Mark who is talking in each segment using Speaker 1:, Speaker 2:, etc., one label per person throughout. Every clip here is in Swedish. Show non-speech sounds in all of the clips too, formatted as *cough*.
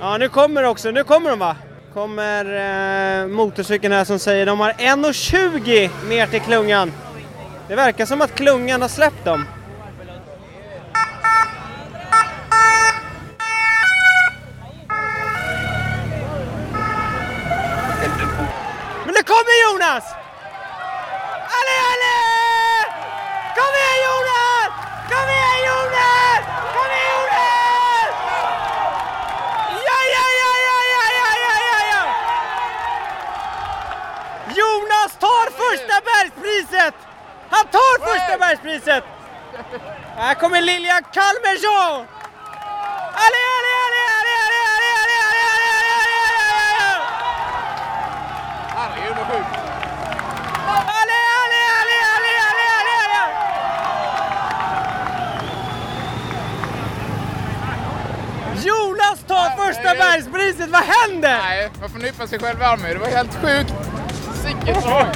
Speaker 1: Ja, nu kommer det också, nu kommer de va? Kommer eh, motorcykeln här som säger de har 1,20 ner till klungan. Det verkar som att klungan har släppt dem. Men nu kommer Jonas! Alle, alle! Kom igen Jonas! Kom igen Jonas! Kom igen Jonas! Ja, ja, ja, ja, ja, ja, ja, ja, ja! Jonas tar första bergspriset! Han tar första bergspriset! Här kommer Lilja Kalmersson! Alle, alle, alle, alle, alle, alle, alle, alle, alle, alle, alle, alle, alle!
Speaker 2: Herregud vad sjukt.
Speaker 1: Alle, alle, alle, alle, alle, alle, alle! Jonas tar första bergspriset, vad händer?
Speaker 2: Nej, man får nypa sig själv i armen. Det var helt sjukt. Sicket drag.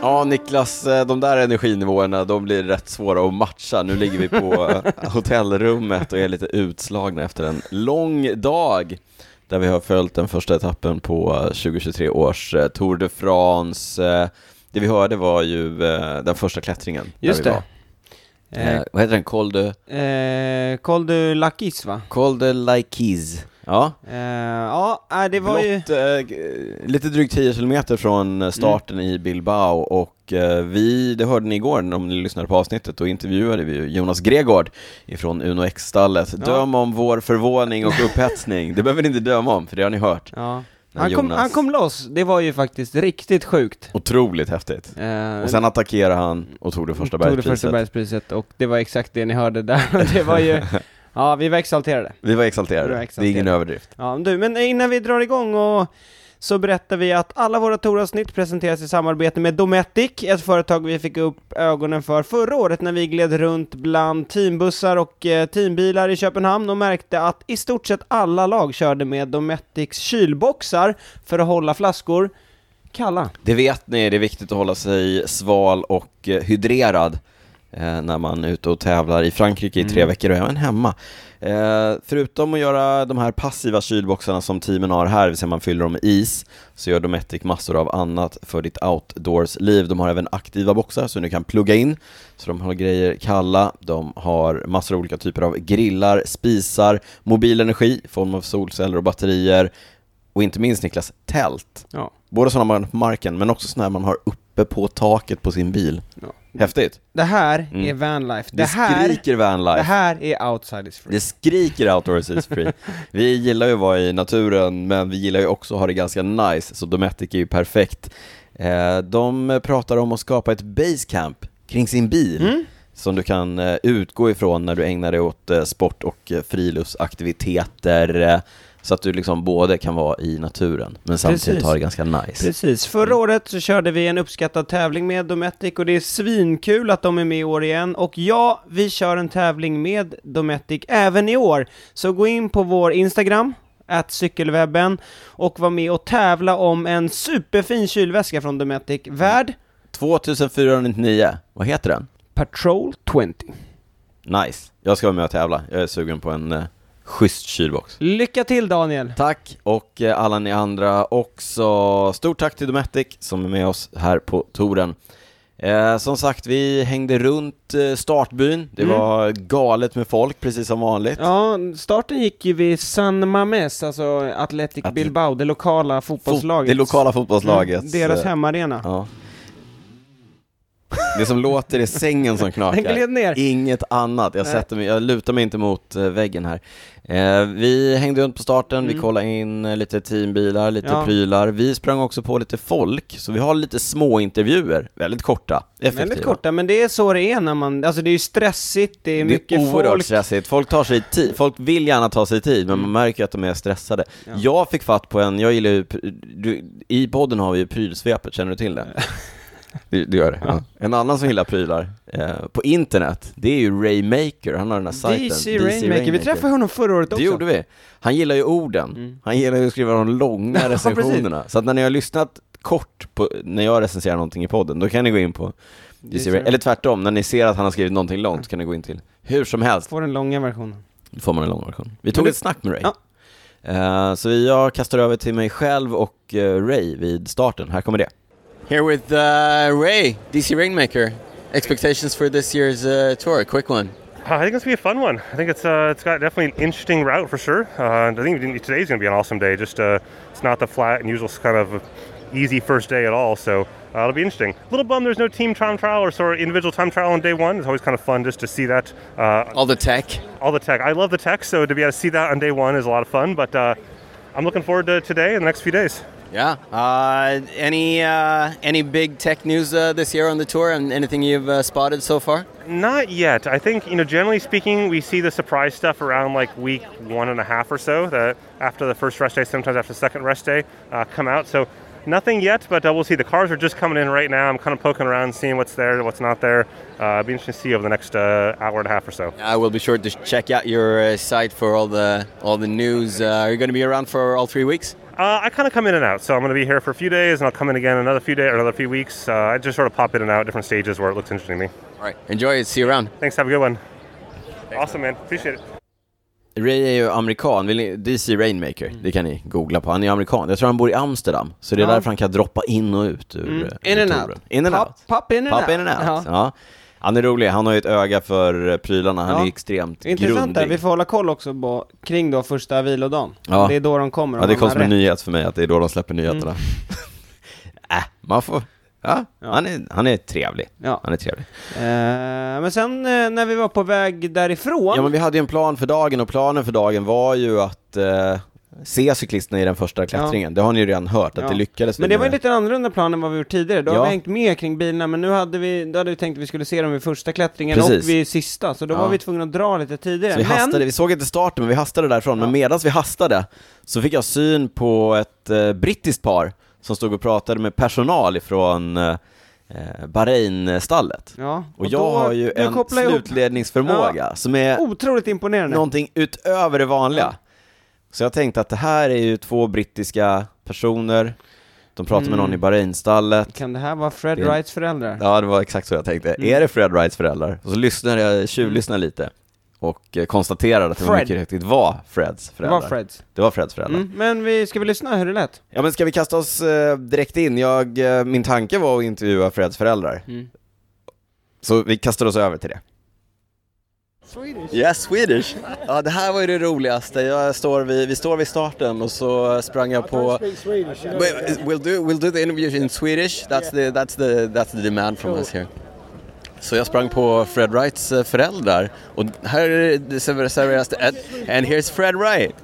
Speaker 3: Ja Niklas, eh, de där energinivåerna de blir rätt svåra att matcha. Nu ligger vi på eh, *laughs* hotellrummet och är lite utslagna efter en lång dag där vi har följt den första etappen på eh, 2023 års eh, Tour de France. Eh, Det vi hörde var ju eh, den första klättringen. där
Speaker 1: Just
Speaker 3: vi
Speaker 1: det.
Speaker 3: var. Eh, vad heter den? Col de,
Speaker 1: Eh, Col du Lakis va?
Speaker 3: Col de Laikis. Ja,
Speaker 1: Eh, ja, äh, det var
Speaker 3: Blott,
Speaker 1: ju... Mm.
Speaker 3: eh, g- lite drygt 10 kilometer från eh, starten i Bilbao och eh, vi, det hörde ni igår om ni lyssnade på avsnittet, då intervjuade vi ju Jonas Gregård ifrån Uno X-stallet.
Speaker 1: Ja.
Speaker 3: Döm om vår förvåning och upphetsning, det behöver ni inte döma om för det har ni hört.
Speaker 1: Ja.
Speaker 3: Men
Speaker 1: Han, kom,
Speaker 3: Jonas-
Speaker 1: han kom loss, det var ju faktiskt riktigt sjukt.
Speaker 3: Otroligt häftigt.
Speaker 1: Eh,
Speaker 3: Och sen attackerade han och tog det första
Speaker 1: tog det första
Speaker 3: bergspriset.
Speaker 1: bergspriset och det var exakt det ni hörde där. *laughs* det var
Speaker 3: *laughs*
Speaker 1: ju... Ja, vi var exalterade.
Speaker 3: Vi var
Speaker 1: Vi
Speaker 3: exalterade,
Speaker 1: var
Speaker 3: det är ingen
Speaker 1: exalterade.
Speaker 3: överdrift.
Speaker 1: Ja, men du, men innan vi drar igång och så berättar vi att alla våra Toravsnitt presenteras i samarbete med Dometic, ett företag vi fick upp ögonen för förra året när vi gled runt bland teambussar och eh, teambilar i Köpenhamn och märkte att i stort sett alla lag körde med Dometics kylboxar för att hålla flaskor kalla.
Speaker 3: Det vet ni, det är viktigt att hålla sig sval och eh, hydrerad eh, när man är ute och tävlar i Frankrike i tre veckor och även hemma. Eh, förutom att göra de här passiva kylboxarna som teamen har här, det vill säga man fyller dem med is, så gör Dometic massor av annat för ditt outdoors-liv. De har även aktiva boxar som du kan plugga in, så de har grejer kalla. De har massor av olika typer av grillar, spisar, mobil energi i form av solceller och batterier och inte minst Niklas, tält.
Speaker 1: Ja.
Speaker 3: Både sådana man har på marken, men också sådana här man har uppe på taket på sin bil. Häftigt!
Speaker 1: Det här
Speaker 3: Mm.
Speaker 1: är vanlife.
Speaker 3: Det,
Speaker 1: Det, här,
Speaker 3: skriker vanlife.
Speaker 1: det
Speaker 3: Det,
Speaker 1: här är outside is free.
Speaker 3: skriker outdoors
Speaker 1: *laughs*
Speaker 3: is free. vi gillar ju att vara i naturen, men vi gillar ju också att ha det ganska nice, så Dometic är ju perfekt. Eh, De pratar om att skapa ett basecamp kring sin bil,
Speaker 1: Mm.
Speaker 3: som du kan eh, utgå ifrån när du ägnar dig åt eh, sport och eh, friluftsaktiviteter, eh, så att du liksom både kan vara i naturen, men samtidigt
Speaker 1: Precis.
Speaker 3: ha det ganska nice.
Speaker 1: Precis, förra året så körde vi en uppskattad tävling med Dometic och det är svinkul att de är med i år igen och ja, vi kör en tävling med Dometic även i år. Så gå in på vår Instagram, att cykelwebben och var med och tävla om en superfin kylväska från Dometic värd
Speaker 3: 2499, vad heter den?
Speaker 1: Patrol 20.
Speaker 3: Nice, jag ska vara med och tävla, jag är sugen på en eh, schysst kylbox
Speaker 1: Lycka till Daniel!
Speaker 3: Tack, och eh, alla ni andra också, stort tack till Dometic som är med oss här på touren eh, Som sagt, vi hängde runt eh, startbyn, det
Speaker 1: Mm.
Speaker 3: var galet med folk precis som vanligt
Speaker 1: Ja, starten gick ju vid San Mames, alltså Athletic
Speaker 3: Atlet-
Speaker 1: Bilbao, det lokala
Speaker 3: Fot-
Speaker 1: fotbollslaget. eh,
Speaker 3: Eh, Det lokala fotbollslaget
Speaker 1: Mm, Deras hemmaarena.
Speaker 3: Ja Det som låter är sängen som knakar.
Speaker 1: Den gled ner.
Speaker 3: Inget annat. Jag, sätter mig, jag lutar mig inte mot eh, väggen här. Eh, vi hängde runt på starten, vi kollade in eh, lite teambilar, lite
Speaker 1: Mm. Ja.
Speaker 3: prylar. Vi sprang också på lite folk, så vi har lite små intervjuer. Väldigt korta, effektiva.
Speaker 1: Väldigt korta, men det är så det är när man, alltså det är ju stressigt, det är mycket
Speaker 3: det är oerhört
Speaker 1: folk. Mm.
Speaker 3: stressigt. Folk tar sig tid, folk vill gärna ta sig tid, men man märker ju att de är stressade. Jag fick fatt på en, jag gillar ju, pr- du, i podden har vi ju prylsvepet, känner du till det? Du, du gör det? Ja. En annan som gillar prylar eh, på internet, det är ju Raymaker, han har den här sajten.
Speaker 1: DC Rainmaker, vi träffade honom förra året också. Mm.
Speaker 3: Det gjorde vi. Han gillar ju orden. Han gillar ju att skriva
Speaker 1: *laughs*
Speaker 3: de långa
Speaker 1: precis.
Speaker 3: recensionerna. Så att när ni har lyssnat kort på, när jag recenserar någonting i podden, då kan ni gå in på
Speaker 1: Just det.
Speaker 3: eller tvärtom, när ni ser att han har skrivit någonting långt så kan ni gå in till hur som helst,
Speaker 1: Får den långa versionen.
Speaker 3: då får man en lång version. Vi tog
Speaker 1: du-
Speaker 3: ett snack med Ray.
Speaker 1: Ja.
Speaker 3: Eh, så jag kastar över till mig själv och eh, Ray vid starten. Här kommer det.
Speaker 4: Here with uh, Ray, DC Rainmaker. Expectations for this year's uh, tour? A quick one.
Speaker 5: Uh, I think it's gonna be a fun one. I think it's uh, it's got definitely an interesting route for sure. Uh, and I think even today's gonna be an awesome day. Just uh, it's not the flat and usual kind of easy first day at all. So uh, it'll be interesting. A little bummed there's no team time trial or sort of individual time trial on day one. It's always kind of fun just to see that. Uh,
Speaker 4: All the tech.
Speaker 5: all the tech. I love the tech, so to be able to see that on day one is a lot of fun. But uh, I'm looking forward to today and the next few days.
Speaker 4: Yeah. Uh, any uh, any big tech news uh, this year on the tour? And anything you've uh, spotted so far?
Speaker 5: Not yet. I think you know. Generally speaking, we see the surprise stuff around like week one and a half or so. That after the first rest day, sometimes after the second rest day, uh, come out. So nothing yet, but uh, we'll see. The cars are just coming in right now. I'm kind of poking around, seeing what's there, what's not there. Uh, it'll be interesting to see over the next uh, hour and a half or so.
Speaker 4: I will be sure to check out your uh, site for all the all the news. Uh, are you going to be around for all three weeks?
Speaker 5: Uh, I kind of come in and out. So I'm going to be here for a few days, and I'll come in again another few days or another few weeks. Uh, I just sort of pop in and out at different stages where it looks interesting to me.
Speaker 4: All right. Enjoy it. See you around.
Speaker 5: Thanks. Have a good one. awesome, man. Appreciate it.
Speaker 3: Ray är ju amerikan, Vill ni- DC Rainmaker,
Speaker 4: Mm.
Speaker 3: det kan ni googla på. Han är amerikan, jag tror han bor i Amsterdam, så det är
Speaker 1: Ja.
Speaker 3: därför han kan droppa in och ut ur
Speaker 1: Mm.
Speaker 3: eh,
Speaker 1: In
Speaker 3: ur
Speaker 1: and
Speaker 3: touren.
Speaker 1: out.
Speaker 3: In and
Speaker 1: Pop-
Speaker 3: out.
Speaker 1: pop in and
Speaker 3: Pop
Speaker 1: out.
Speaker 3: in and out.
Speaker 1: Ja.
Speaker 3: Ja. Han är rolig, han har ju ett öga för eh, prylarna, han
Speaker 1: Ja.
Speaker 3: är extremt
Speaker 1: Intressant där,
Speaker 3: grundig.
Speaker 1: vi får hålla koll också på, kring då första vilodagen.
Speaker 3: Ja.
Speaker 1: Det är då de kommer. om
Speaker 3: Ja, det
Speaker 1: man
Speaker 3: kom
Speaker 1: har
Speaker 3: som en
Speaker 1: rätt.
Speaker 3: nyhet för mig att det är då de släpper
Speaker 1: Mm.
Speaker 3: nyheterna. *laughs* äh, man får... Ja, Han, är, han är trevlig.
Speaker 1: Ja.
Speaker 3: Han är trevlig.
Speaker 1: Eh, men sen eh, när vi var på väg därifrån,
Speaker 3: Ja, men vi hade ju en plan för dagen och planen för dagen var ju att eh, se cyklisterna i den första klättringen. Det har ni ju redan hört, att
Speaker 1: Ja.
Speaker 3: det lyckades.
Speaker 1: Men
Speaker 3: vi
Speaker 1: det var
Speaker 3: med.
Speaker 1: en lite annorlunda plan än vad vi gjort tidigare. Då har
Speaker 3: Ja.
Speaker 1: vi hängt med kring bilarna, men nu hade vi, då hade vi tänkt att vi skulle se dem vid första klättringen
Speaker 3: Precis.
Speaker 1: och vid sista, så då
Speaker 3: Ja.
Speaker 1: var vi tvungna att dra lite tidigare.
Speaker 3: Så vi
Speaker 1: men,
Speaker 3: hastade, vi såg inte starten men vi hastade därifrån, men medan vi hastade så fick jag syn på ett eh, brittiskt par som stod och pratade med personal ifrån eh, eh, Bahrain-stallet.
Speaker 1: ja,
Speaker 3: Och, jag har ju
Speaker 1: du
Speaker 3: en
Speaker 1: kopplar ihop
Speaker 3: slutledningsförmåga som är
Speaker 1: Otroligt imponerande.
Speaker 3: någonting utöver det vanliga. Så jag tänkte att det här är ju två brittiska personer, de pratar med
Speaker 1: Mm.
Speaker 3: någon i Bahrain-stallet,
Speaker 1: Kan det här vara Fred
Speaker 3: Det är-
Speaker 1: Wrights föräldrar?
Speaker 3: Ja, det var exakt så jag tänkte.
Speaker 1: Mm.
Speaker 3: Är det Fred Wrights föräldrar? Och så lyssnade jag, tjuvlyssnade lite och eh, konstaterade att det var
Speaker 1: Fred.
Speaker 3: mycket riktigt var Freds
Speaker 1: det
Speaker 3: föräldrar.
Speaker 1: var Freds.
Speaker 3: Det var Freds föräldrar.
Speaker 1: Mm. Men vi, ska vi lyssna hur det lät?
Speaker 3: Ja, men ska vi kasta oss eh, direkt in? Jag, eh, min tanke var att intervjua Freds föräldrar. Så vi kastar oss över till det.
Speaker 4: Yeah, Swedish.
Speaker 3: Ja, det här var ju det roligaste. Jag står vid, vi står vid starten och så sprang jag på...
Speaker 4: Wait, we'll do we'll do the interviews in Swedish. That's the that's the that's the demand from us here. Så jag sprang på Fred Wrights eh, föräldrar och här är det server- serveras det and, and here's Fred Wright.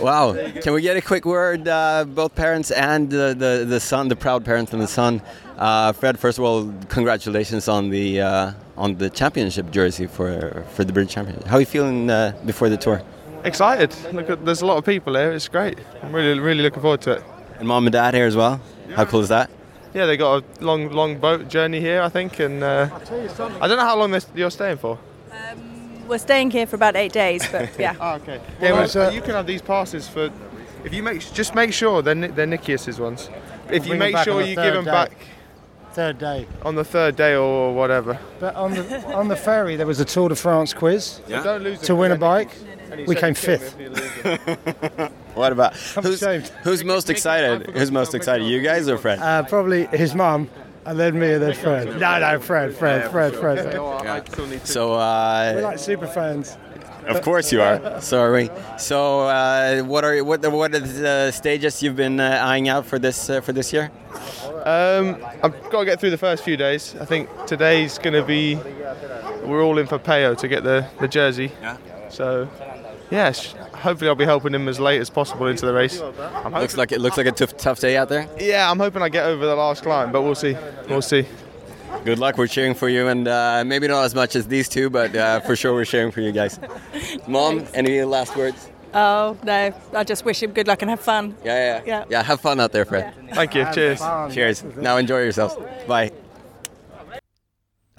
Speaker 4: Wow, can we get a quick word uh, both parents and the, the the son, the proud parents and the son. Uh, Fred, first of all, congratulations on the uh, on the championship jersey for for the British Championship. How are you feeling uh, before the tour?
Speaker 2: Excited. Look, at, there's a lot of people here. It's great. I'm really, really looking forward to it.
Speaker 4: And mom and dad here as well. How cool is that?
Speaker 2: Yeah, they got a long, long boat journey here, I think, and uh, I don't know how long this- you're staying for.
Speaker 6: We're staying here for about eight days, but yeah.
Speaker 2: Oh, okay. Yeah, well,
Speaker 7: uh,
Speaker 2: you can have these passes for. If you make, just make sure they're Ni- they're Nikias's ones. If you
Speaker 7: bring 'em
Speaker 2: make
Speaker 7: back
Speaker 2: sure
Speaker 7: on the
Speaker 2: you give
Speaker 7: third
Speaker 2: them
Speaker 7: day.
Speaker 2: back
Speaker 7: Third day.
Speaker 2: on the third day or whatever.
Speaker 7: But on the on the ferry there was a Tour de France quiz
Speaker 2: Don't lose them.
Speaker 7: to win a bike. We came fifth.
Speaker 4: What about
Speaker 7: I'm
Speaker 4: who's
Speaker 7: ashamed.
Speaker 4: who's most excited? Who's most excited? You guys or Fred?
Speaker 7: Uh, probably his mum, and then me, and then Fred. No, no, Fred, Fred, Fred, Fred.
Speaker 4: So uh,
Speaker 7: We're like super fans.
Speaker 4: Of course you are. Sorry. So, uh, what are what what are the stages you've been uh, eyeing out for this uh, for this year?
Speaker 2: Um, I've got to get through the first few days. I think today's going to be. We're all in for Peo to get the, the jersey. Yeah. So, yes, hopefully I'll be helping him as late as possible into the race. I'm
Speaker 4: Looks
Speaker 2: hoping,
Speaker 4: like it looks like a tough tough day out there.
Speaker 2: yeah, I'm hoping I get over the last climb, but we'll see. We'll see.
Speaker 4: Good luck. We're cheering for you, and uh, maybe not as much as these two, but uh, for sure we're cheering for you guys. Mom, any last words?
Speaker 6: Oh no, I just wish him good luck and have fun.
Speaker 4: Yeah, yeah, yeah.
Speaker 6: Yeah.
Speaker 4: Yeah, have fun out there, Fred.
Speaker 2: Thank you. Cheers.
Speaker 4: Cheers. Now enjoy yourselves. Bye.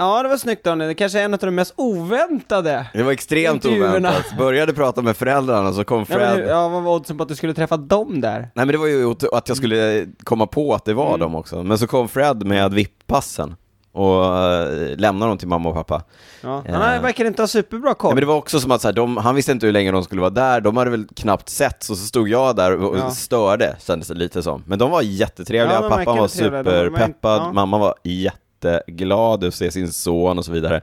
Speaker 1: Ja, det var snyggt Daniel. Det kanske är en av de mest oväntade.
Speaker 3: Det var extremt
Speaker 1: Intervjuerna.
Speaker 3: oväntat. Började prata med föräldrarna så kom
Speaker 1: Ja, men, hur-
Speaker 3: Fred.
Speaker 1: ja, vad var oddsen på att du skulle träffa dem där?
Speaker 3: Nej men det var ju ot- att jag skulle komma på att det var
Speaker 1: Mm.
Speaker 3: dem också. Men så kom Fred med VIP-passen och eh, lämnade dem till mamma och pappa.
Speaker 1: Ja.
Speaker 3: Eh.
Speaker 1: Han verkar inte ha superbra koll.
Speaker 3: Ja, men det var också som att så här, de, han visste inte hur länge de skulle vara där, de hade väl knappt sett så, så stod jag där och
Speaker 1: Ja.
Speaker 3: störde kändes det lite som. Men de var jättetrevliga,
Speaker 1: Ja, de verkar
Speaker 3: pappan var
Speaker 1: väl trevliga, de var-
Speaker 3: superpeppad,
Speaker 1: ja.
Speaker 3: mamma var jätteglad att se sin son och så vidare.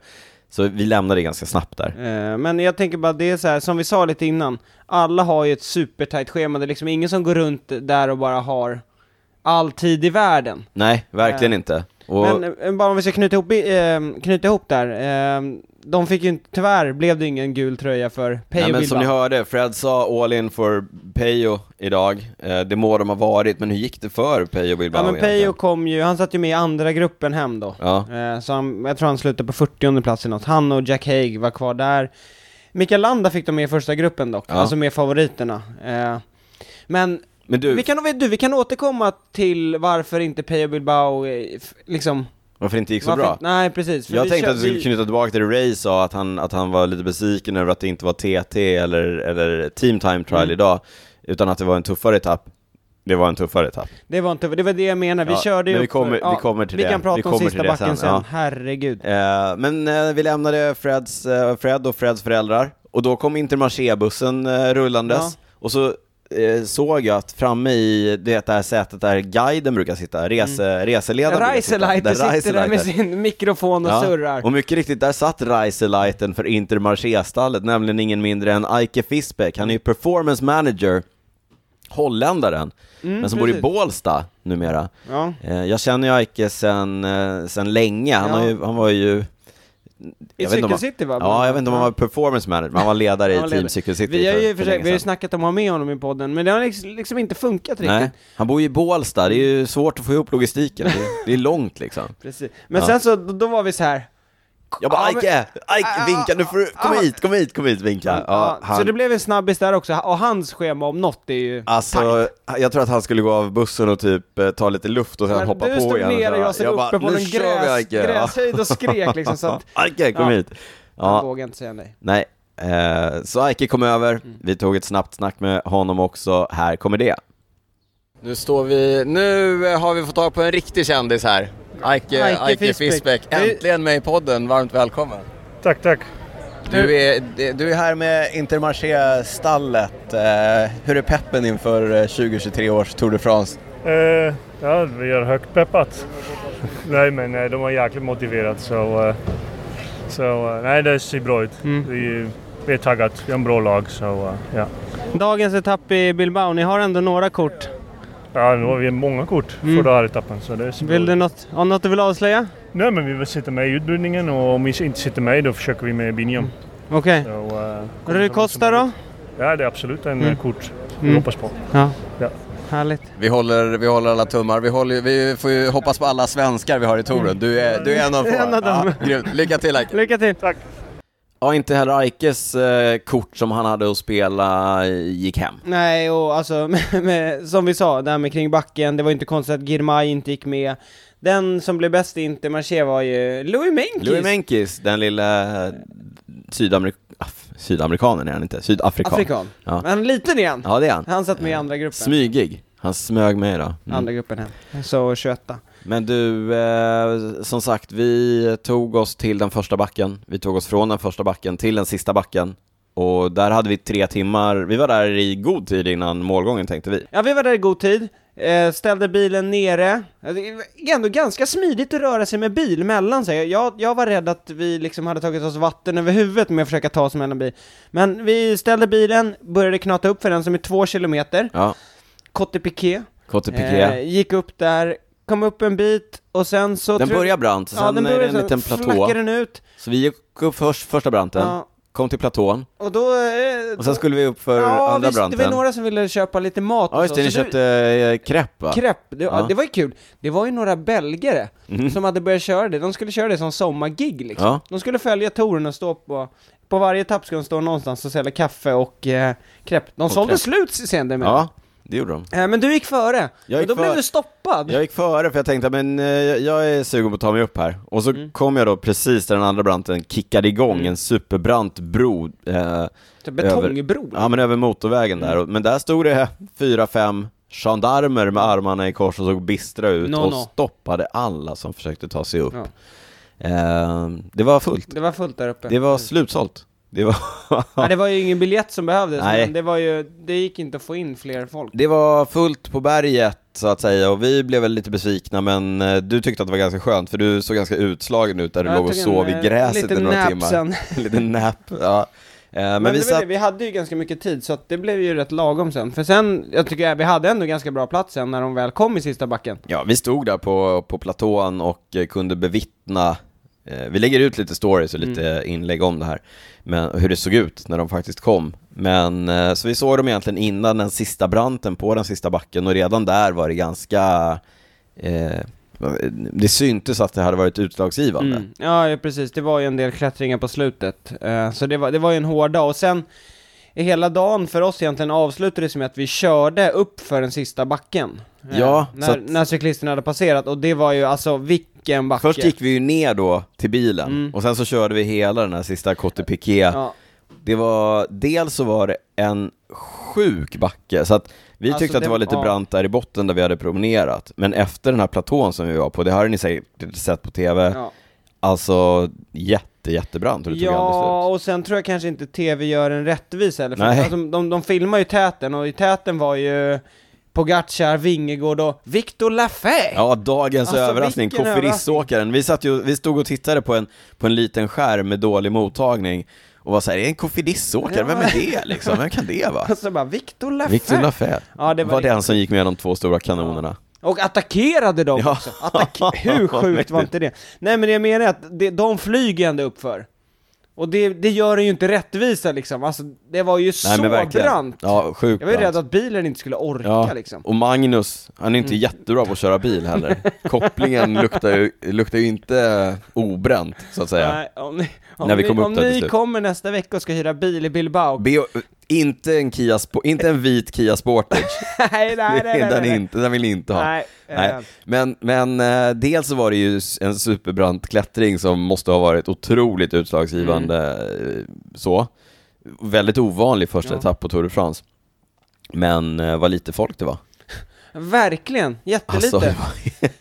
Speaker 3: Så vi lämnade ganska snabbt där.
Speaker 1: Eh, Men jag tänker bara, det är så här, som vi sa lite innan, alla har ju ett supertajt schema, det är liksom ingen som går runt där och bara har all tid i världen.
Speaker 3: Nej, verkligen inte. Och,
Speaker 1: Men eh, bara om vi ska knyta ihop, i- eh, knyta ihop där, eh, de fick ju inte, tyvärr blev det ingen gul tröja för Peyo
Speaker 3: Nej, men som ni
Speaker 1: Bilbao.
Speaker 3: hörde, Fred sa all in for Peyo idag. Eh, det må de ha varit, men hur gick det för Peyo Bilbao
Speaker 1: Ja men
Speaker 3: egentligen?
Speaker 1: Peyo kom ju, han satt ju med i andra gruppen hem då.
Speaker 3: Ja.
Speaker 1: Eh, Så han, jag tror han slutade på 40 plats eller något. Han och Jack Haig var kvar där. Mikael Landa fick de med i första gruppen dock,
Speaker 3: Ja.
Speaker 1: alltså med favoriterna. Eh, Men
Speaker 3: Men du,
Speaker 1: vi kan, vi- du, vi kan återkomma till varför inte Peyo Bilbao eh, f- liksom...
Speaker 3: varför inte gick så
Speaker 1: varför,
Speaker 3: bra?
Speaker 1: Nej, precis. för
Speaker 3: Jag
Speaker 1: vi
Speaker 3: tänkte
Speaker 1: kö-
Speaker 3: att du skulle
Speaker 1: vi-
Speaker 3: knyta tillbaka till det Ray sa, att han, att han var lite besviken över att det inte var TT eller, eller Team Time Trial
Speaker 1: Mm.
Speaker 3: idag, utan att det var en tuffare etapp. Det var en tuffare etapp.
Speaker 1: Det var inte, det var det jag menade, vi
Speaker 3: Ja,
Speaker 1: körde ju
Speaker 3: men vi
Speaker 1: upp för-
Speaker 3: kommer- vi kommer till
Speaker 1: Vi
Speaker 3: det.
Speaker 1: kan prata
Speaker 3: Vi
Speaker 1: om
Speaker 3: kommer
Speaker 1: sista
Speaker 3: till det
Speaker 1: backen sen,
Speaker 3: sen, ja.
Speaker 1: herregud.
Speaker 3: Eh, men eh, vi lämnade Freds, eh, Fred och Freds föräldrar, och då kom Intermarché-bussen eh, rullandes, och så eh, såg jag att framme i det där sätet där guiden brukar sitta, rese, reseledaren brukar sitta,
Speaker 1: Reiseleiter Mm. sitter där med
Speaker 3: Reiseleiter-
Speaker 1: sin mikrofon och
Speaker 3: Ja,
Speaker 1: surrar.
Speaker 3: Och mycket riktigt, där satt Reiseleiten för Intermarché-stallet, nämligen ingen mindre än Eike Fisbeck. Han är ju performance manager, holländaren, men som bor i
Speaker 1: Mm, precis.
Speaker 3: Bålsta numera.
Speaker 1: Ja.
Speaker 3: Eh, Jag känner ju Eike sen, eh, sen länge, han,
Speaker 1: Ja.
Speaker 3: har ju, han var ju...
Speaker 1: I
Speaker 3: vet inte om
Speaker 1: Cykel
Speaker 3: han-
Speaker 1: City va?
Speaker 3: Ja, jag vet inte om han var performance manager, men han var ledare
Speaker 1: *laughs*
Speaker 3: i
Speaker 1: Han var ledare.
Speaker 3: Team Cykel City
Speaker 1: Vi har
Speaker 3: för-
Speaker 1: ju,
Speaker 3: för
Speaker 1: för sig,
Speaker 3: länge
Speaker 1: vi har ju
Speaker 3: sedan.
Speaker 1: snackat om att ha med honom i podden, men det har liksom, liksom inte funkat riktigt.
Speaker 3: Nej, han bor ju i Bålsta, det är ju svårt att få ihop logistiken, det är, det är långt liksom.
Speaker 1: Precis. Men
Speaker 3: Ja.
Speaker 1: sen så, då, då var vi så här.
Speaker 3: Jag bara
Speaker 1: Ja, men-
Speaker 3: Eike, Eike, vinka, nu får du, kom
Speaker 1: Ja.
Speaker 3: hit, kom hit, kom hit, vinka. Ja,
Speaker 1: Så
Speaker 3: han-
Speaker 1: det blev en snabbis där också, och hans schema om något är ju...
Speaker 3: Alltså, jag tror att han skulle gå av bussen och typ eh, ta lite luft och sen
Speaker 1: Men
Speaker 3: hoppa
Speaker 1: du
Speaker 3: på
Speaker 1: stod
Speaker 3: igen. och
Speaker 1: ner och
Speaker 3: köra.
Speaker 1: jag stod
Speaker 3: bara,
Speaker 1: uppe på
Speaker 3: "Nu
Speaker 1: en
Speaker 3: kör vi,
Speaker 1: gräs,
Speaker 3: Eike." Ja.
Speaker 1: gräshöjd och skrek liksom så att...
Speaker 3: Eike, kom
Speaker 1: Ja.
Speaker 3: hit!
Speaker 1: Jag
Speaker 3: *laughs* Ja,
Speaker 1: vågar inte säga nej.
Speaker 3: nej. Eh, Så Eike kom över, vi tog ett snabbt snack med honom också, här kommer det.
Speaker 4: Nu står vi... Nu eh, har vi fått tag på en riktig kändis här. Ike,
Speaker 1: Ike
Speaker 4: Ike,
Speaker 1: Fisbeck.
Speaker 4: Fisbeck. Äntligen med i podden. Varmt välkommen.
Speaker 5: Tack, tack.
Speaker 4: Du är, du är här med Intermarché-stallet. Eh, Hur är peppen inför eh, 2023 års Tour de France?
Speaker 8: Eh, ja, vi har högt peppat. nej, men eh, de var jäkligt motiverade så... eh, så eh, nej, det ser bra ut.
Speaker 1: Mm.
Speaker 8: Vi, vi är taggade. Vi har en bra lag så eh, ja.
Speaker 1: Dagens etapp i Bilbao, ni har ändå några kort.
Speaker 8: Ja, nu har vi många kort för den här etappen så det ser bra
Speaker 1: Mm. Vill
Speaker 8: ut.
Speaker 1: du något, har du något du vill avslöja?
Speaker 8: Nej, men vi vill sitta med i utbildningen och om vi inte sitter med då försöker vi med Binion.
Speaker 1: Mm. Okej.
Speaker 8: Så, eh, kommer så
Speaker 1: Rui
Speaker 8: långt
Speaker 1: Costa
Speaker 8: som
Speaker 1: då?
Speaker 8: möjligt. Ja, det är absolut en
Speaker 1: Mm.
Speaker 8: eh, kort vi
Speaker 1: Mm.
Speaker 8: hoppas på.
Speaker 1: Ja.
Speaker 8: Ja.
Speaker 1: Härligt.
Speaker 4: Vi håller, vi håller alla tummar. Vi, håller, vi får ju hoppas på alla svenskar vi har i touren. Du är, du är en av få.
Speaker 1: En av dem.
Speaker 4: Ja, grymt. Lycka till Ike.
Speaker 1: Lycka till!
Speaker 8: Tack!
Speaker 3: Ja, inte heller Eikes eh, kort som han hade att spela eh, gick hem.
Speaker 1: Nej, och alltså, *laughs* med, med, som vi sa, det här med kring backen, det var ju inte konstigt att Girmay inte gick med. Den som blev bäst i Intermarché var ju Louis Menkis!
Speaker 3: Louis Menkis, den lilla eh, sydamerik- af- sydamerikanen är han inte, sydafrikan.
Speaker 1: Afrikan.
Speaker 3: Ja.
Speaker 1: Men liten igen!
Speaker 3: Ja, det är han.
Speaker 1: Han satt med i andra gruppen.
Speaker 3: Smygig. Han smög med idag. Mm.
Speaker 1: Andra gruppen hem. Så 21
Speaker 3: Men du, eh, som sagt, vi tog oss till den första backen. Vi tog oss från den första backen till den sista backen. Och där hade vi tre timmar, vi var där i god tid innan målgången tänkte vi.
Speaker 1: Ja, vi var där i god tid. Eh, ställde bilen nere. Eh, Det är ändå ganska smidigt att röra sig med bil mellan sig. Jag, jag var rädd att vi liksom hade tagit oss vatten över huvudet med att försöka ta oss mellan bil. Men vi ställde bilen, började knata upp för den som är två kilometer.
Speaker 3: Ja,
Speaker 1: Kotte Piqué.
Speaker 3: Kotte
Speaker 1: Eh, gick upp där, kom upp en bit och sen så...
Speaker 3: Den
Speaker 1: tror-
Speaker 3: börjar brant, sen är det en
Speaker 1: så-
Speaker 3: liten platå.
Speaker 1: flackar den ut.
Speaker 3: Så vi gick upp först, första branten,
Speaker 1: Ja,
Speaker 3: kom till platån,
Speaker 1: och då... eh,
Speaker 3: och sen skulle vi upp för
Speaker 1: ja,
Speaker 3: andra
Speaker 1: visst, det
Speaker 3: branten.
Speaker 1: var några som ville köpa lite mat
Speaker 3: Ja, just
Speaker 1: och
Speaker 3: det,
Speaker 1: så.
Speaker 3: ni
Speaker 1: så
Speaker 3: köpte eh, crepe va?
Speaker 1: det, krepp, det, ja.
Speaker 3: Ja.
Speaker 1: det var ju kul. Det var ju några belgare
Speaker 3: Mhm.
Speaker 1: som hade börjat köra det. De skulle köra det som sommargig liksom.
Speaker 3: Ja.
Speaker 1: De skulle följa touren och stå på... På varje etapp skulle de stå någonstans och sälja kaffe och eh, krepp. De sålde
Speaker 3: crepe.
Speaker 1: slut senare med.
Speaker 3: ja, det gjorde de.
Speaker 1: Eh, men du gick före.
Speaker 3: Jag
Speaker 1: och
Speaker 3: gick
Speaker 1: då blev
Speaker 3: före.
Speaker 1: du stoppad.
Speaker 3: Jag gick före för jag tänkte men eh, jag är sugen på att ta mig upp här. Och så
Speaker 1: Mm.
Speaker 3: kom jag då precis där den andra branten kickade igång, en superbrant bro. Eh,
Speaker 1: Typ Betongbro.
Speaker 3: ja men över motorvägen
Speaker 1: Mm.
Speaker 3: där. Och- Men där stod det fyra, fem gendarmer med armarna i kors och såg bistra ut
Speaker 1: No,
Speaker 3: och
Speaker 1: no.
Speaker 3: stoppade alla som försökte ta sig upp.
Speaker 1: Ja.
Speaker 3: Eh, det var fullt.
Speaker 1: Det var fullt där uppe.
Speaker 3: Det var slutsålt. Det var,
Speaker 1: Ja, det var ju ingen biljett som behövdes,
Speaker 3: Nej.
Speaker 1: men det var ju, det gick inte att få in fler folk.
Speaker 3: det var fullt på berget så att säga och vi blev väl lite besvikna men eh, du tyckte att det var ganska skönt för du såg ganska utslagen ut där du
Speaker 1: Jag
Speaker 3: låg och
Speaker 1: tog en,
Speaker 3: sov i
Speaker 1: eh,
Speaker 3: gräset i
Speaker 1: liten
Speaker 3: några
Speaker 1: nap
Speaker 3: timmar.
Speaker 1: sen.
Speaker 3: En *laughs* liten nap, ja. Eh, Men,
Speaker 1: Men
Speaker 3: vi
Speaker 1: vi,
Speaker 3: satt...
Speaker 1: det, vi hade ju ganska mycket tid, så att det blev ju rätt lagom sen. För sen, jag tycker att vi hade ändå ganska bra plats sen när de väl kom i sista backen.
Speaker 3: Ja, vi stod där på, på platån och eh, kunde bevittna eh, vi lägger ut lite stories och lite
Speaker 1: Mm.
Speaker 3: inlägg om det här, men hur det såg ut när de faktiskt kom. Men eh, så vi såg dem egentligen innan den sista branten på den sista backen och redan där var det ganska, eh, det syntes att det hade varit utslagsgivande.
Speaker 1: Mm. Ja, ja, precis. Det var ju en del klättringar på slutet. Eh, så det var, det var ju en hård dag. Och sen, hela dagen för oss egentligen avslutades med att vi körde upp för den sista backen. Eh,
Speaker 3: Ja, så
Speaker 1: när,
Speaker 3: att-
Speaker 1: när cyklisten hade passerat. Och det var ju, alltså vilken backe.
Speaker 3: Först gick vi ju ner då till bilen och sen så körde vi hela den här sista Cote Piqué.
Speaker 1: Mm. Ja.
Speaker 3: Det var, dels så var det en sjuk backe, så att vi
Speaker 1: Alltså,
Speaker 3: tyckte att det
Speaker 1: det-
Speaker 3: var lite
Speaker 1: ja.
Speaker 3: brant där i botten där vi hade promenerat, men efter den här platån som vi var på, det har ni säkert sett på TV,
Speaker 1: Ja.
Speaker 3: alltså jätte, jättebrant och det tog aldrig
Speaker 1: Ja,
Speaker 3: slut.
Speaker 1: och sen tror jag kanske inte tv gör en rättvis heller. För
Speaker 3: Nej.
Speaker 1: alltså, de, de filmar ju täten och i täten var ju Pogacar, Vingegård och Victor Lafay.
Speaker 3: Ja, dagens
Speaker 1: Alltså,
Speaker 3: överraskning,
Speaker 1: vilken
Speaker 3: kofferiståkaren. Vi, satt ju, vi stod och tittade på en, på en liten skärm med dålig mottagning och var såhär, är det en kofferiståkare?
Speaker 1: Ja.
Speaker 3: Vem är det liksom? Vem
Speaker 1: *laughs*
Speaker 3: kan det vara?
Speaker 1: Och *laughs* så bara Victor Lafay.
Speaker 3: Victor Lafayette
Speaker 1: Ja, det
Speaker 3: var,
Speaker 1: var
Speaker 3: den som gick med de två stora kanonerna.
Speaker 1: Och attackerade dem
Speaker 3: Ja.
Speaker 1: också.
Speaker 3: *laughs*
Speaker 1: Attack- Hur
Speaker 3: Vad
Speaker 1: sjukt var
Speaker 3: mäktigt.
Speaker 1: inte det? Nej men det jag menar är att det, de flyger ändå uppför. Och det, det gör det ju inte rättvisa liksom. Alltså det var ju så brant.
Speaker 3: Ja, sjukt
Speaker 1: Jag var ju
Speaker 3: brant.
Speaker 1: rädd att bilen inte skulle orka
Speaker 3: Ja, Oh,
Speaker 1: liksom. Mm.
Speaker 3: och Magnus, han är inte jättebra på att köra bil heller.
Speaker 1: *laughs*
Speaker 3: Kopplingen luktar ju, luktar ju inte obränt, så att säga.
Speaker 1: Nej, om ni, om
Speaker 3: När vi
Speaker 1: ni,
Speaker 3: kommer upp
Speaker 1: om
Speaker 3: där till
Speaker 1: ni
Speaker 3: slut.
Speaker 1: kommer nästa vecka och ska hyra bil i Bilbao,
Speaker 3: Be, inte, en Kia Spo- inte en vit Kia Sportage,
Speaker 1: *laughs* nej, *laughs* nej, nej, nej,
Speaker 3: den,
Speaker 1: nej.
Speaker 3: Inte, den vill ni inte ha.
Speaker 1: Nej,
Speaker 3: Nej.
Speaker 1: eh,
Speaker 3: Men, men eh, dels så var det ju s- en superbrant klättring som måste ha varit otroligt utslagsgivande eh, så. Väldigt ovanlig första
Speaker 1: Mm. Ja.
Speaker 3: etapp på Tour de France. Men eh, vad lite folk det var.
Speaker 1: verkligen, jättelite.
Speaker 3: Alltså det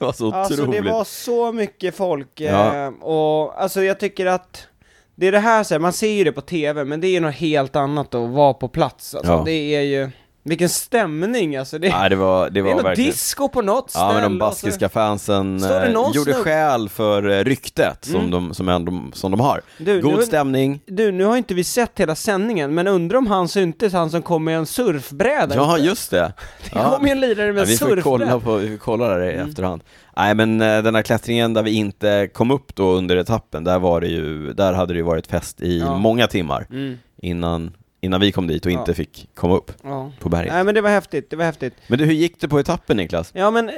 Speaker 1: Alltså,
Speaker 3: var, *laughs* det var så
Speaker 1: det
Speaker 3: otroligt.
Speaker 1: var så mycket folk, eh,
Speaker 3: Ja.
Speaker 1: och alltså jag tycker att det är det här, så här, man ser ju det på TV, men det är ju något helt annat att vara på plats. Alltså,
Speaker 3: Ja.
Speaker 1: Det är ju, vilken stämning alltså. Det,
Speaker 3: Nej, det var, det
Speaker 1: det, är
Speaker 3: var
Speaker 1: något
Speaker 3: verkligen...
Speaker 1: disco på något ställe. alltså.
Speaker 3: Ja men de
Speaker 1: och så-
Speaker 3: baskiska fansen
Speaker 1: Står det
Speaker 3: eh,
Speaker 1: någon
Speaker 3: gjorde
Speaker 1: snubb-
Speaker 3: skäl för eh, ryktet som, de, som, ändå, som de har.
Speaker 1: Du,
Speaker 3: God
Speaker 1: nu-
Speaker 3: stämning.
Speaker 1: Du, nu har inte vi sett hela sändningen, men undrar om han syntes, han som kom med en surfbräda.
Speaker 3: Ja just det.
Speaker 1: *laughs* det kom ju en lirare med
Speaker 3: Ja,
Speaker 1: en
Speaker 3: vi får
Speaker 1: surfbräda.
Speaker 3: kolla, på, vi får kolla där i
Speaker 1: Mm.
Speaker 3: efterhand. Nej men eh, den här klättringen där vi inte kom upp då under etappen, där, var det ju, där hade det ju varit fest i
Speaker 1: Ja.
Speaker 3: många timmar
Speaker 1: Mm,
Speaker 3: innan, innan vi kom dit och
Speaker 1: Ja.
Speaker 3: inte fick komma upp
Speaker 1: ja.
Speaker 3: på berget.
Speaker 1: Nej men det var häftigt, det var häftigt.
Speaker 3: Men du, hur gick det på etappen Niklas? *laughs*
Speaker 1: Ja men eh,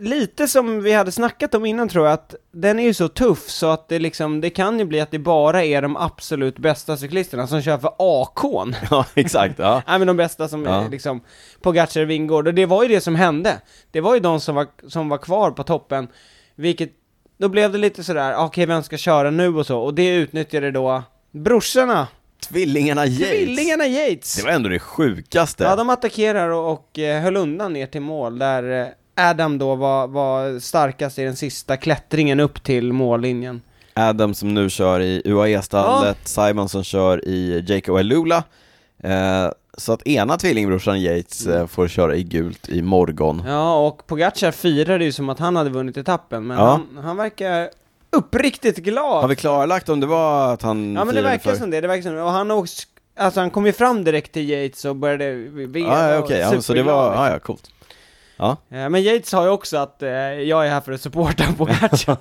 Speaker 1: lite som vi hade snackat om innan tror jag att den är ju så tuff så att det liksom, det kan ju bli att det bara är de absolut bästa cyklisterna som kör för AK'n.
Speaker 3: Ja exakt, ja.
Speaker 1: Nej men de bästa som
Speaker 3: Ja.
Speaker 1: är liksom Pogacar och Vingård och det var ju det som hände. Det var ju de som var, som var kvar på toppen, vilket då blev det lite sådär, "Ah, okej vem ska köra nu och så och det utnyttjade då brorsorna,
Speaker 3: Tvillingarna Yates.
Speaker 1: *laughs* tvillingarna Yates.
Speaker 3: Det var ändå det sjukaste.
Speaker 1: Ja, de attackerar och, och eh, höll undan ner till mål där eh, Adam då var, var starkast i den sista klättringen upp till mållinjen.
Speaker 3: Adam som nu kör i UAE-stallet, Simon som kör i Jake Oelula, eh, Så att ena tvillingbrorsan Yates eh, får köra i gult imorgon.
Speaker 1: Mm. Ja, och Pogacar firade ju som att han hade vunnit etappen, men
Speaker 3: Ja.
Speaker 1: han, han verkar uppriktigt glad.
Speaker 3: Har vi klarlagt om det var att han
Speaker 1: ja, men det
Speaker 3: firade
Speaker 1: verkar
Speaker 3: för-
Speaker 1: som det. Det verkar som det. Och han har också, alltså han kom ju fram direkt till Yates och började veva
Speaker 3: Ja, ja
Speaker 1: och
Speaker 3: okej, ja, så det
Speaker 1: superglad,
Speaker 3: var,
Speaker 1: liksom.
Speaker 3: ja, ja coolt.
Speaker 1: Eh, Men Yates sa ju också att eh, jag är här för att supporta *laughs* Pogacar.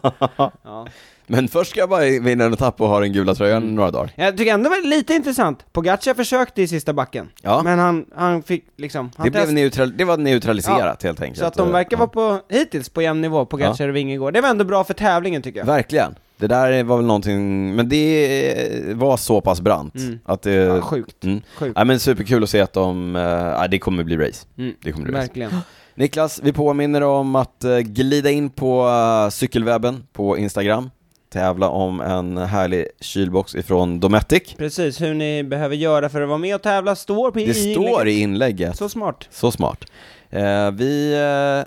Speaker 1: ja.
Speaker 3: Men först ska jag bara vinna en etapp och ha den gula tröjan
Speaker 1: Mm.
Speaker 3: några dagar.
Speaker 1: Jag tycker ändå det var lite intressant. Pogacar försökte i sista backen,
Speaker 3: Ja,
Speaker 1: men han, han fick liksom... Han
Speaker 3: det, blev
Speaker 1: test-
Speaker 3: neutral, det var neutraliserat helt enkelt.
Speaker 1: så att de verkar
Speaker 3: Ja.
Speaker 1: vara på, hittills på jämn nivå, Pogacar och Vingegård. Det var ändå bra för tävlingen tycker jag.
Speaker 3: Verkligen. Det där var väl någonting, men det var så pass brant
Speaker 1: Mm.
Speaker 3: att det...
Speaker 1: Ja, sjukt.
Speaker 3: Mm.
Speaker 1: Sjukt.
Speaker 3: Nej men superkul att se att de, eh, ja, det kommer bli race.
Speaker 1: Mm.
Speaker 3: Det kommer bli race.
Speaker 1: Verkligen.
Speaker 3: Niklas, vi påminner om att eh, glida in på eh, cykelwebben på Instagram, tävla om en härlig kylbox ifrån Dometic.
Speaker 1: Precis, hur ni behöver göra för att vara med och tävla står på
Speaker 3: Det står i inlägget.
Speaker 1: Så smart.
Speaker 3: Så smart. Eh, vi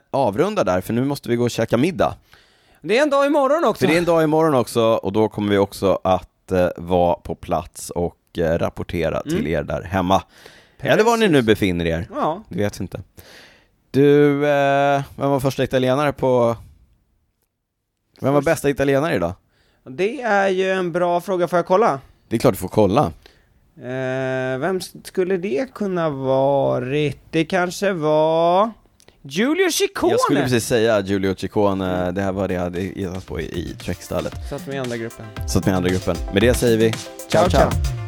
Speaker 3: eh, avrundar där, för nu måste vi gå och käka middag.
Speaker 1: Det är en dag imorgon också.
Speaker 3: För det är en dag imorgon också, och då kommer vi också att eh, vara på plats och eh, rapportera till er där hemma. Eller var ni nu befinner er.
Speaker 1: Ja,
Speaker 3: Det vet vi inte. Du, eh, vem var första italienare på... Vem var bästa italienare idag?
Speaker 1: det är ju en bra fråga, får jag kolla?
Speaker 3: Det är klart du får kolla.
Speaker 1: Eh, vem skulle det kunna varit? Det kanske var... Giulio Ciccone!
Speaker 3: Jag skulle precis säga Giulio Ciccone, det här var det jag hade gissat på i, i Trek-stallet.
Speaker 1: Satt med i andra gruppen.
Speaker 3: Så att med andra gruppen. Med det säger vi ciao! ciao.